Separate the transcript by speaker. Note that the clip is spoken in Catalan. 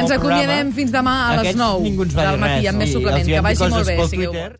Speaker 1: Ens acomiadem fins demà a les
Speaker 2: Aquests
Speaker 1: 9
Speaker 2: ningú ens va
Speaker 1: del
Speaker 2: dir
Speaker 1: matí
Speaker 2: res,
Speaker 1: amb més
Speaker 2: sí,
Speaker 1: suplement.
Speaker 2: els hi
Speaker 1: Que
Speaker 2: hem
Speaker 1: vagi
Speaker 2: because
Speaker 1: molt
Speaker 2: dels
Speaker 1: bé.
Speaker 2: pel
Speaker 1: Sigueu
Speaker 2: Twitter.